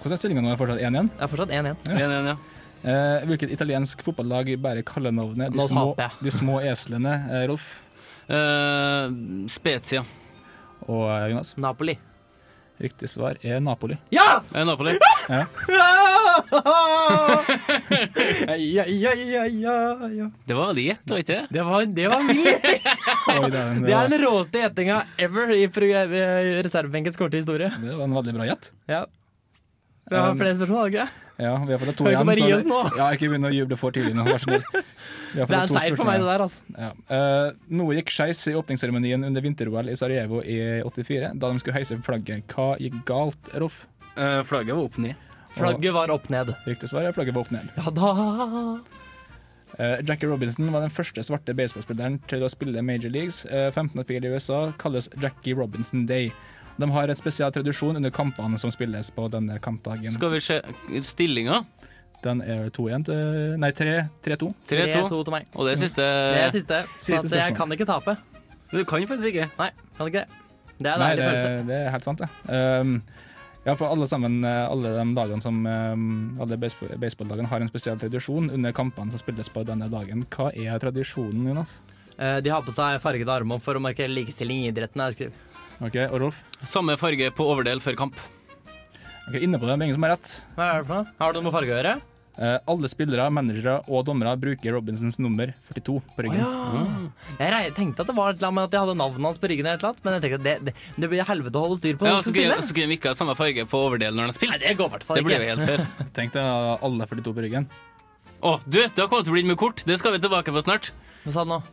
Speaker 7: Hvordan er stillingen nå? Er det fortsatt 1 igjen?
Speaker 6: Det er fortsatt 1-1.
Speaker 5: Ja. Ja, ja.
Speaker 7: Eh, hvilket italiensk fotballag bærer kallenavnet De
Speaker 6: Nå
Speaker 7: små,
Speaker 6: taper jeg.
Speaker 7: de små eslene, eh, Rolf
Speaker 5: Eh, Spezia.
Speaker 7: og eh, Jonas?
Speaker 6: Napoli.
Speaker 7: Riktig svar er Napoli.
Speaker 6: Ja!
Speaker 5: Eh, Napoli.
Speaker 6: ja, ja, ja, ja, ja.
Speaker 5: Det var veldig gjett, var ikke det?
Speaker 6: Det var, det var vilt!
Speaker 7: Oi, det, er en,
Speaker 6: Det er den råeste gjettinga ever i pro- eh, reservebenkens korte historie.
Speaker 7: det var en veldig bra gjett.
Speaker 6: Ja. Vi har
Speaker 7: Um,
Speaker 6: flere spørsmål, har vi ikke? det?
Speaker 7: Ja, vi har fått to
Speaker 6: Kan vi ikke
Speaker 7: igjen.
Speaker 6: bare
Speaker 7: så
Speaker 6: gi
Speaker 7: det-
Speaker 6: oss nå?
Speaker 7: Ja, ikke begynn å juble for tidlig nå, vær så snill. Vi
Speaker 6: Det er
Speaker 7: har fått
Speaker 6: en
Speaker 7: to
Speaker 6: seier for
Speaker 7: spørsmål
Speaker 6: meg,
Speaker 7: igjen.
Speaker 6: det der. altså.
Speaker 7: Ja. Eh, noe gikk skeis i åpningsseremonien under vinter-OL i Sarajevo i 84, da de skulle heise flagget. Hva gikk galt, Rolf?
Speaker 5: Eh, flagget var opp ned.
Speaker 6: Flagget var opp ned.
Speaker 7: Og Riktig svar er flagget var opp ned.
Speaker 6: Ja da.
Speaker 7: Eh, Jackie Robinson var den første svarte baseballspilleren til å spille major leagues. Eh, 15. april i USA kalles Jackie Robinson Day. De har et spesiell tradisjon under kampene som spilles på denne kampdagen.
Speaker 5: Skal vi se stillinga.
Speaker 7: Den er 2-1 til Nei, 3 3-2.
Speaker 5: 3-2.
Speaker 6: 3-2 til meg.
Speaker 5: Og det er siste.
Speaker 6: Det er siste. Så at
Speaker 7: Siste
Speaker 6: jeg
Speaker 7: spørsmål.
Speaker 6: kan ikke tape.
Speaker 5: Du kan faktisk ikke.
Speaker 6: Nei, kan ikke det. Det er en
Speaker 7: Nei,
Speaker 6: deilig
Speaker 7: det,
Speaker 6: følelse.
Speaker 7: det er helt sant, det. Ehm, ja, for alle sammen, eh, alle de dagene som ehm, alle baseball- baseballdagene har en spesiell tradisjon under kampene som spilles på denne dagen. Hva er tradisjonen, Jonas?
Speaker 6: Eh, De har på seg fargede armer for å markere likestilling i idretten. har Jeg skrevet.
Speaker 7: Ok, og Rolf?
Speaker 5: Samme farge på overdel før kamp.
Speaker 7: Ok, Inne på det, men ingen som har rett.
Speaker 6: Hva er det for noe? Har det noe med farge å gjøre?
Speaker 7: Eh, alle spillere, managere og dommere bruker Robinsons nummer 42 på ryggen.
Speaker 6: Mm. Jeg rei- tenkte at det var et eller annet med at jeg hadde navnet hans på ryggen, eller et eller annet, men jeg tenkte at det, det, det blir helvete å holde styr på.
Speaker 5: Ja,
Speaker 6: når du
Speaker 5: så
Speaker 6: skal
Speaker 5: kunne,
Speaker 6: spille.
Speaker 5: så kunne vi ikke ha samme farge på overdelen når han har
Speaker 6: Nei,
Speaker 5: spilt.
Speaker 6: det går i hvert fall
Speaker 5: Det
Speaker 6: ikke.
Speaker 5: blir jo helt fair.
Speaker 7: Tenk deg eh, alle 42 på ryggen.
Speaker 5: Å, du, det har kommet til å bli med kort. Det skal vi tilbake på snart.
Speaker 6: Hva sa du nå?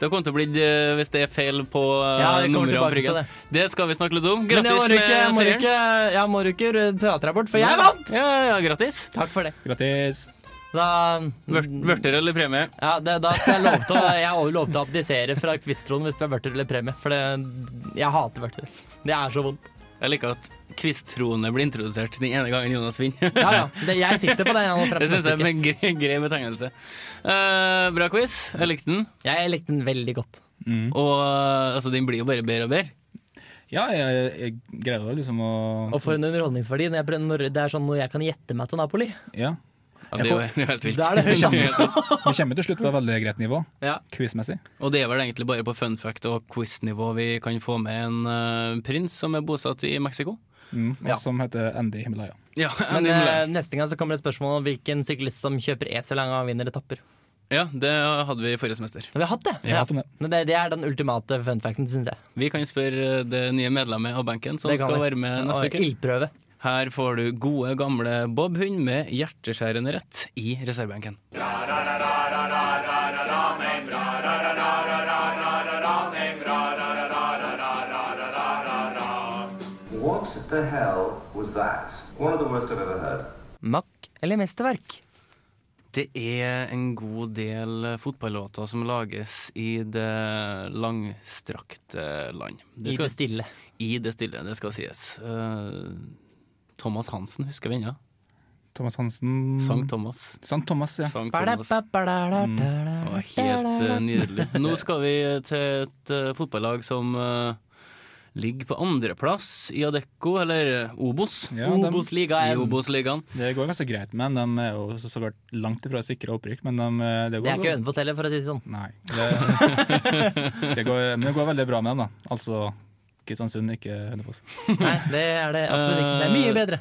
Speaker 5: Det har kommet til å bli, eh, hvis det er feil på eh,
Speaker 6: Ja, vi kommer
Speaker 5: nummeret av
Speaker 6: tilbake til
Speaker 5: bryggen.
Speaker 6: det.
Speaker 5: Det skal vi snakke litt om.
Speaker 6: Men jeg må
Speaker 5: Grattis
Speaker 6: du ikke,
Speaker 5: med
Speaker 6: må du
Speaker 5: seieren.
Speaker 6: ikke, jeg må du ikke prate deg bort, for jeg vant!
Speaker 5: Ja, ja, grattis.
Speaker 6: Takk for det.
Speaker 7: Grattis.
Speaker 6: Da, Mm.
Speaker 5: Vørter eller premie?
Speaker 6: ja, det, da skal jeg lovte å, jeg lovte å abdisere fra kvisttroen hvis det er vørter eller premie, for det, jeg hater vørter. Det er så vondt.
Speaker 5: Jeg liker at kvisttroene blir introdusert den ene gangen Jonas vinner.
Speaker 6: Ja, ja. Det, jeg sitter på den. Jeg, nå frem
Speaker 5: Det
Speaker 6: til
Speaker 5: syns jeg
Speaker 6: neste
Speaker 5: er
Speaker 6: uke.
Speaker 5: en grei, grei betegnelse. Eh, bra quiz. Jeg likte den.
Speaker 6: jeg likte den veldig godt.
Speaker 5: Og eh, altså, den blir jo bare bedre og bedre.
Speaker 7: Ja, jeg, jeg greier jo liksom å
Speaker 6: Og for en underholdningsverdi. Når jeg, når det er sånn når jeg kan gjette meg til Napoli.
Speaker 7: Ja.
Speaker 5: Ja, det er jo- det er jo helt vilt.
Speaker 6: Da er det høy sjanse.
Speaker 7: Vi kommer til slutt på et veldig greit nivå,
Speaker 6: Ja.
Speaker 7: quizmessig.
Speaker 5: Og det er vel egentlig bare på fun fact og quiz-nivå vi kan få med en eh, prins som er bosatt i Mexico.
Speaker 7: Mm, og
Speaker 6: Ja.
Speaker 7: Som heter Andy Himalaya.
Speaker 5: Ja,
Speaker 6: Men
Speaker 5: Andy Muller.
Speaker 6: eh, neste gang så kommer det et spørsmål om hvilken syklist som kjøper esel hver gang han vinner etapper.
Speaker 5: ja, det hadde vi i forrige semester.
Speaker 6: Men Vi har hatt det!
Speaker 5: Ja.
Speaker 7: Vet du om det?
Speaker 6: Men det, det er den ultimate fun facten, syns jeg.
Speaker 5: Vi kan spørre eh, det nye medlemmet av benken som
Speaker 6: Det kan
Speaker 5: Sånn skal
Speaker 6: vi.
Speaker 5: være med
Speaker 6: Og
Speaker 5: neste uke.
Speaker 6: Ildprøve.
Speaker 5: Her får du gode, gamle Bob Hund med hjerteskjærende rett i reservebenken.
Speaker 11: What the hell was that? One of the worst I've ever heard.
Speaker 6: Mack eller mesterverk?
Speaker 5: Det er en god del fotballåter som lages i det langstrakte land.
Speaker 6: I
Speaker 5: Det
Speaker 6: det
Speaker 5: skal,
Speaker 6: stille.
Speaker 5: I det stille, det skal sies. Eh, Thomas Hansen husker vi ennå.
Speaker 7: Thomas Hansen
Speaker 5: Sang Thomas.
Speaker 7: Sankt Thomas, ja.
Speaker 5: Sang Thomas. Det var helt eh,
Speaker 6: Helt
Speaker 5: nydelig. Nå skal vi til et eh, fotballag som eh, ligger på andreplass i Adecco, eller eh, Obos.
Speaker 7: ja de,
Speaker 6: Obos-liga
Speaker 5: I
Speaker 6: 1.
Speaker 5: Obos-ligaen.
Speaker 7: det går ganske greit med dem. De er jo så- så klart langt ifra å sikre opprykk, men de, eh, det går
Speaker 6: Det er ikke Hønefoss heller, for å si det sånn.
Speaker 7: Nei. Det, det går, men det går veldig bra med dem, da. Altså Kristiansund, ikke Hønefoss.
Speaker 6: Nei, det er det absolutt ikke. Det er
Speaker 5: Eh,
Speaker 6: mye bedre.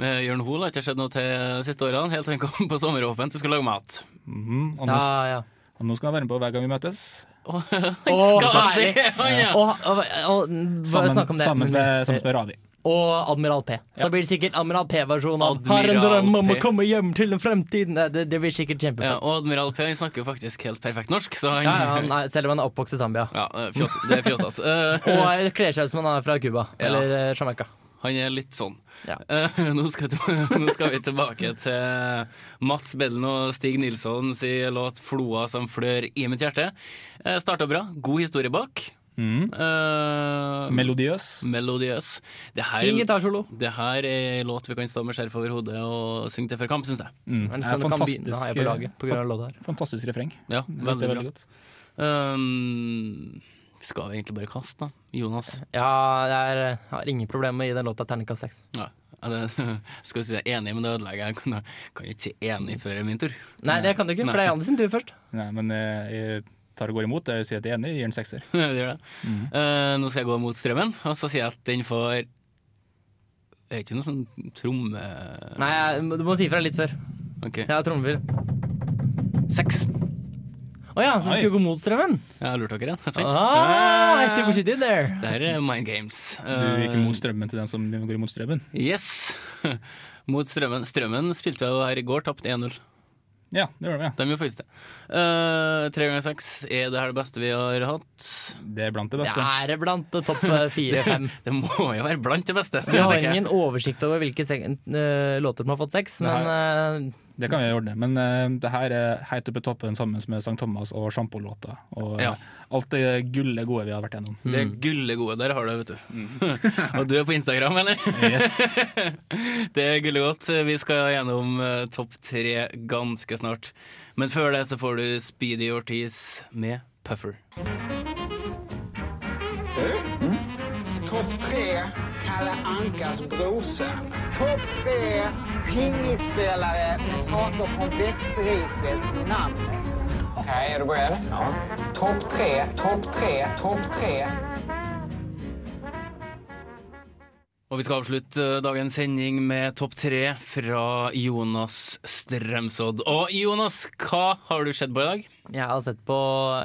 Speaker 5: Eh, Jørn Hoel har ikke skjedd noe til de siste årene, helt til han kom på sommeråpent og skulle lage mat.
Speaker 7: Mhm, og, nå,
Speaker 6: Ja, ja.
Speaker 7: og nå skal han være med på Hver gang vi møtes,
Speaker 5: Han skal
Speaker 6: herlig.
Speaker 5: det, han, ja.
Speaker 6: Og, og, og, bare snakk
Speaker 7: sammen,
Speaker 6: om det. Mm.
Speaker 7: sammen, med, sammen med Ravi.
Speaker 6: Og Admiral P. Så blir det sikkert Admiral P-versjonen av
Speaker 5: Admiral
Speaker 6: 'Har en drøm om å
Speaker 5: P.
Speaker 6: komme hjem til en fremtid'. Nei, Det, det blir sikkert
Speaker 5: Ja,
Speaker 6: kjempefett.
Speaker 5: Eh, og Admiral P han snakker jo faktisk helt perfekt norsk, så han
Speaker 6: Ja, ja, han er- selv om han er oppvokst i Zambia.
Speaker 5: Ja, eh, fjott, det er fjottet. Eh,
Speaker 6: Og kler seg ut som han er fra Cuba
Speaker 5: Ja.
Speaker 6: eller eh, Jamaica.
Speaker 5: han er litt sånn.
Speaker 6: Ja.
Speaker 5: Eh, nå, skal vi til- nå skal vi tilbake til Mats Bellen og Stig Nilsson sin låt 'Floa som flør i mitt hjerte'. Uh, Starta bra, god historie bak. Eh,
Speaker 7: Melodiøs.
Speaker 5: melodiøs. Det her,
Speaker 6: Fin gitarsolo.
Speaker 5: det her er en låt vi kan stå med skjerf over hodet og synge til før kamp, syns jeg.
Speaker 7: Mm.
Speaker 6: Men
Speaker 7: Det
Speaker 6: sånn kan
Speaker 7: er
Speaker 6: begynne har jeg på laget på grunn av låta her.
Speaker 7: fantastisk refreng.
Speaker 5: Ja,
Speaker 7: Veldig,
Speaker 5: veldig
Speaker 7: veldig
Speaker 5: bra.
Speaker 7: godt.
Speaker 5: Um, skal vi egentlig bare kaste, da? Jonas?
Speaker 6: Ja, jeg er, har ingen problemer med å gi den låta terningkast seks.
Speaker 5: Ja. Ja, det, skal vi si jeg er enig, men det ødelegger jeg. Kan, kan jeg ikke si enig før det er min tur.
Speaker 6: Nei, det kan du ikke, for det er Janne sin tur først.
Speaker 7: Nei, men eh, jeg tar og går imot. Jeg sier at jeg er enig, jeg gir den sekser.
Speaker 5: Det gjør det.
Speaker 6: Mm.
Speaker 5: Eh, nå skal jeg gå mot strømmen, og så sier jeg at den får Det er ikke noe sånn tromme...
Speaker 6: Nei, jeg, du må si fra litt før.
Speaker 5: Ok,
Speaker 6: Jeg har trommefyll.
Speaker 5: Seks.
Speaker 6: Å ja, så skulle du gå mot strømmen?
Speaker 5: Jeg lurte dere, ja. Sant?
Speaker 6: Ah, I see what you did there.
Speaker 5: Det her er Mind Games.
Speaker 7: Du gikk
Speaker 5: Eh,
Speaker 7: imot strømmen til den som går imot strømmen.
Speaker 5: Yes. Mot strømmen. Strømmen spilte jo her i går, tapte 1-0.
Speaker 7: Ja, det gjør vi.
Speaker 5: De gjorde faktisk det. Eh, Tre ganger seks, er det her det beste vi har hatt?
Speaker 7: ja. Det er blant det
Speaker 6: Det
Speaker 7: beste.
Speaker 6: er blant topp fire-fem.
Speaker 5: Det må jo være blant det beste.
Speaker 6: Vi har
Speaker 5: tenker jeg.
Speaker 6: ingen oversikt over hvilke sek eh, låter som har fått seks, men eh,
Speaker 7: Det kan vi ordne, men eh, det her er helt oppe i toppen sammen med St. Thomas og sjampolåta. Og eh,
Speaker 5: Ja.
Speaker 7: alt det gullet gode vi har vært gjennom.
Speaker 6: Mm.
Speaker 5: Det gullet gode der har du, vet du. Og du er på Instagram, eller?
Speaker 7: Yes.
Speaker 5: Det er gullet godt. Vi skal gjennom eh, topp tre ganske snart. Men før det så får du Speedy Ortiz med Puffer.
Speaker 12: Topp tre Kalle Ankas brorson. Topp tre pingisspelare med saker från växtriket i namnet. Okej, är du beredd? Ja. Topp tre, topp tre, topp tre.
Speaker 5: Og vi skal avslutte eh, dagens sending med topp tre fra Jonas Strømsodd. Og Jonas, hva har du sett på i dag?
Speaker 6: jeg har sett på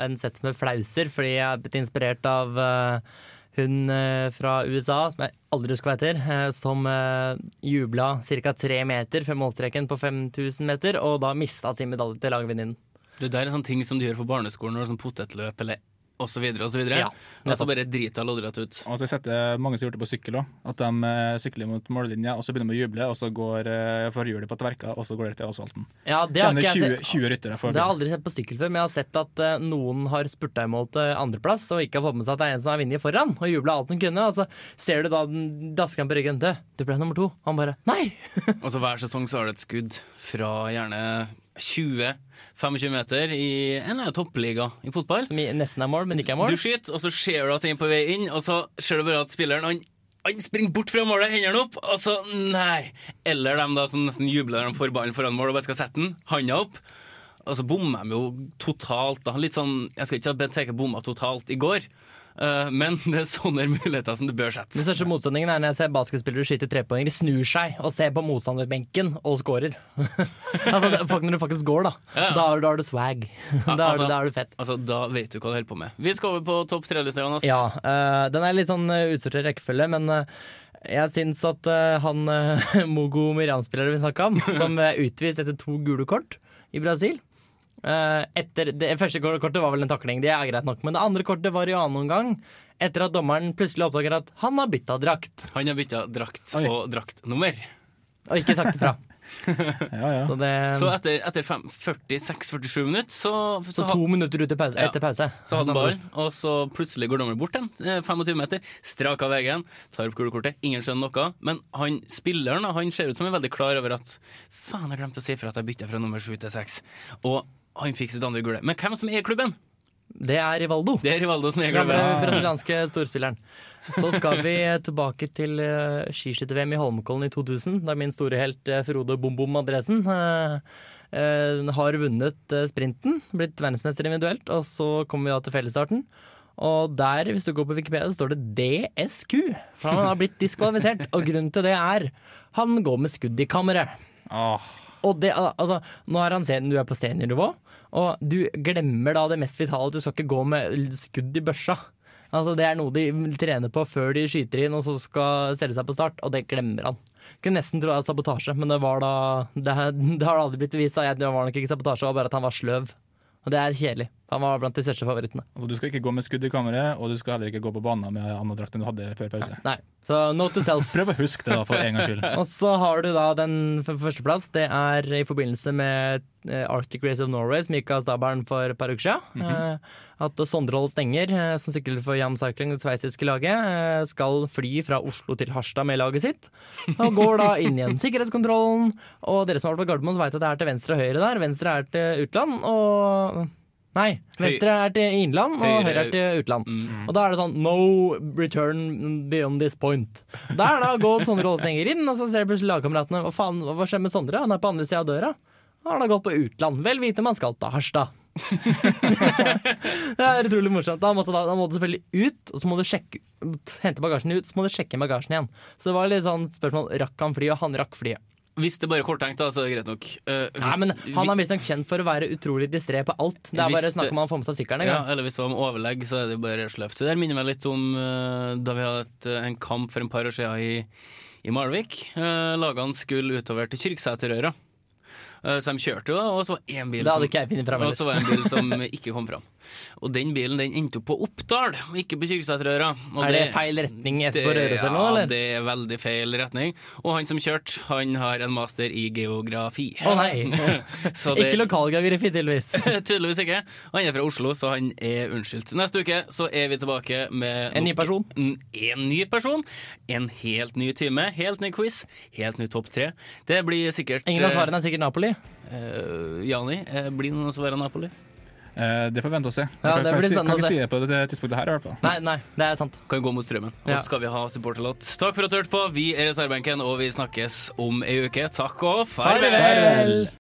Speaker 6: en sett med flauser fordi jeg er blitt inspirert av eh, hun eh, fra USA, som jeg aldri husker hva heter, eh, som uh, jubla ca. tre meter før målstreken på 5000 meter, og da mista sin medalje til lagvenninnen.
Speaker 5: Det der er sånne ting som du gjør på barneskolen når det er sånn potetløp eller og så videre og så videre.
Speaker 6: Ja,
Speaker 5: og så bare driter jeg loddrett ut.
Speaker 7: Og så setter jeg mange som har gjort det på sykkel òg. At de eh, sykler mot mållinja, og så begynner de å juble, og så går eh, forhjulet på tverka, og så går det til asfalten.
Speaker 6: Ja, det har
Speaker 7: Kjenner
Speaker 6: ikke jeg
Speaker 7: 20,
Speaker 6: sett.
Speaker 7: 20 ryttere for
Speaker 6: Det har jeg aldri sett på sykkel før, men jeg har sett at eh, noen har spurta i mål til andreplass og ikke har fått med seg at det er en som har vunnet foran, og jubla alt hun kunne. Og så ser du da den daskeren på ryggen. Du, du ble nummer to. Han bare nei!
Speaker 5: Og så Altså, hver sesong så har du et skudd fra gjerne 20-25 meter i en eller annen toppliga i fotball.
Speaker 6: Som i- nesten er mål, men ikke er mål.
Speaker 5: Du skyter, og så ser du at den er på vei inn, og så ser du bare at spilleren han, han springer bort fra målet, hendene opp, og så nei. Eller dem da som nesten jubler når de får ballen foran mål og bare skal sette den, handa opp. Og så bommer de jo totalt. Da. Litt sånn, Jeg skal ikke si at Bent Heke bomma totalt i går, eh, men det er sånne muligheter som du bør sette.
Speaker 6: Den største motstandingen er når jeg ser basketspillere skyte trepoengere, snur seg og ser på motstanderbenken og scorer. altså, det, fuck, når du faktisk går, da.
Speaker 5: Ja.
Speaker 6: Da har du, da har du swag. da, har du,
Speaker 5: altså-
Speaker 6: da er du fett.
Speaker 5: Altså, Da vet du hva du holder på med. Vi skal over på topp tre-lista, Jonas.
Speaker 6: Ja, eh, den er litt sånn uh, utsortert rekkefølge, men eh, jeg syns at eh, han eh, Mogo Miran-spilleren vi snakka om, som er utvist etter to gule kort i Brasil eh, etter, Det første kortet var vel en takling, det er greit nok, men det andre kortet var i annen omgang. Etter at dommeren plutselig oppdager at han har bytta drakt,
Speaker 5: Han har bytta drakt
Speaker 7: Oi.
Speaker 5: og draktnummer.
Speaker 6: og ikke sagt ifra.
Speaker 7: Ja, ja.
Speaker 6: Så det
Speaker 5: Så etter, etter fem- 46-47 minutter så, så,
Speaker 6: Så
Speaker 5: ha-
Speaker 6: to minutter ut i pause,
Speaker 5: Ja.
Speaker 6: etter pause.
Speaker 5: så hadde han ballen, og så plutselig går dommeren bort den. eh, 25 meter, strak av veien, tar opp gulekortet. Ingen skjønner noe. Men han spilleren da, han ser ut som er veldig klar over at faen, jeg glemte å si fra at jeg bytta fra nummer 7 til 6. Og Han fikk sitt andre gule. Men hvem som er i klubben?
Speaker 6: Det er Rivaldo.
Speaker 5: Det er Rivaldo som er i
Speaker 6: Den
Speaker 5: klubben.
Speaker 6: gamle brasilianske storspilleren. Så skal vi tilbake til eh, skiskytter-VM i Holmenkollen i 2000, der min store helt eh, Frode Bom-Bom Andresen eh, eh, har vunnet eh, sprinten, blitt verdensmester individuelt, og så kommer vi da til fellesstarten. Og der, hvis du går på Wikipedia, så står det DSQ, for han har blitt diskvalifisert. Og grunnen til det er han går med skudd i kammeret. Og det, al- altså, nå er han sen, du er på seniornivå, og du glemmer da det mest vitale. at Du skal ikke gå med l- skudd i børsa. Altså, det er noe de trener på før de skyter inn og så skal selge seg på start, og det glemmer han. Kunne nesten tro det var sabotasje, men det, var da, det, det har aldri blitt bevist. da. Jeg- Det var nok ikke sabotasje, det var bare at han var sløv. Og det er kjedelig. Han var blant de største favorittene.
Speaker 7: Altså, du skal ikke gå med skudd i kammeret, og du skal heller ikke gå på banen med annen drakt enn du hadde før pause.
Speaker 6: Nei, så note to self.
Speaker 7: Prøv å huske det, da, for en gangs skyld.
Speaker 6: og så har du da den f- førsteplass. Det er i forbindelse med eh, Arctic Race of Norway, som gikk av stabelen for et par uker siden.
Speaker 13: Mhm.
Speaker 6: Eh, At Sondrehold Stenger, eh, som sykler for Jam Cycling, det sveitsiske laget, eh, skal fly fra Oslo til Harstad med laget sitt. Og går da inn igjen sikkerhetskontrollen. Og dere som har vært på Gardermoen, vet at det er til venstre og høyre der. Venstre er til utland, og Nei, venstre er til innland, og
Speaker 5: Høyre- Mm.
Speaker 6: høyre er til utland. Og da er det sånn no return beyond this point. Der da går Sondre Ålestenger inn, og så ser plutselig lagkameratene hva faen, hva skjer med Sondre? Han er på andre sida av døra. Han har da gått på utland. Vel vitende man skal til Harstad. det er utrolig morsomt. Da måtte, da, da måtte du selvfølgelig ut, og så må du sjekke, hente bagasjen ut, så må du sjekke inn bagasjen igjen. Så det var litt sånn spørsmål rakk han flyet, og han rakk flyet.
Speaker 5: Hvis det bare er korttenkt, da, så er det greit nok. Eh, hvis,
Speaker 6: Nei, men Han er visstnok kjent for å være utrolig distré på alt. Det er bare
Speaker 5: Hvis
Speaker 6: snakk
Speaker 5: det-
Speaker 6: om han får med seg sykkelen en
Speaker 5: ja,
Speaker 6: gang.
Speaker 5: eller hvis det var med overlegg, så er det jo bare sløvt. Det der minner meg litt om eh, da vi hadde et, eh, en kamp for en par år siden i, i Malvik. Eh, lagene skulle utover til Kyrksæterøra. Eh, Så de kjørte jo, da, og så var en bil
Speaker 6: Det hadde
Speaker 5: som-
Speaker 6: ikke jeg funnet fram
Speaker 5: Og så var det en bil som ikke kom fram. Og den bilen den endte opp på Oppdal, og ikke på Kyrksæterøra. Og
Speaker 6: Er det feil retning etter på Røros eller noe,
Speaker 5: Ja,
Speaker 6: eller?
Speaker 5: det er veldig feil retning. Og han som kjørte, han har en master i geografi.
Speaker 6: Å nei!
Speaker 5: Så det-
Speaker 6: Ikke lokalgeografi, tydeligvis.
Speaker 5: Tydeligvis ikke. Han er fra Oslo, så han er unnskyldt. Neste uke så er vi tilbake med
Speaker 6: En ny
Speaker 5: nok-
Speaker 6: person.
Speaker 5: En, en ny person. En helt ny time, helt ny quiz, helt ny topp tre. Det blir sikkert
Speaker 6: Ingen av svarene er sikkert Napoli.
Speaker 5: eh, Jani, eh, blir det noen som er Napoli?
Speaker 7: Eh, det får vente og se.
Speaker 5: Ja, det
Speaker 7: jeg kan,
Speaker 5: blir
Speaker 7: ikke si-
Speaker 5: spennende
Speaker 7: kan
Speaker 5: å
Speaker 7: ikke
Speaker 5: se.
Speaker 7: si det på det tidspunktet her, i hvert fall.
Speaker 6: Nei, nei, det er sant.
Speaker 5: Kan gå mot strømmen. Og
Speaker 6: Ja.
Speaker 5: så skal vi ha supporterlåt. Takk for at du hørte på. Vi er reservebenken, og vi snakkes om ei uke. Takk og farvel!
Speaker 6: Farvel!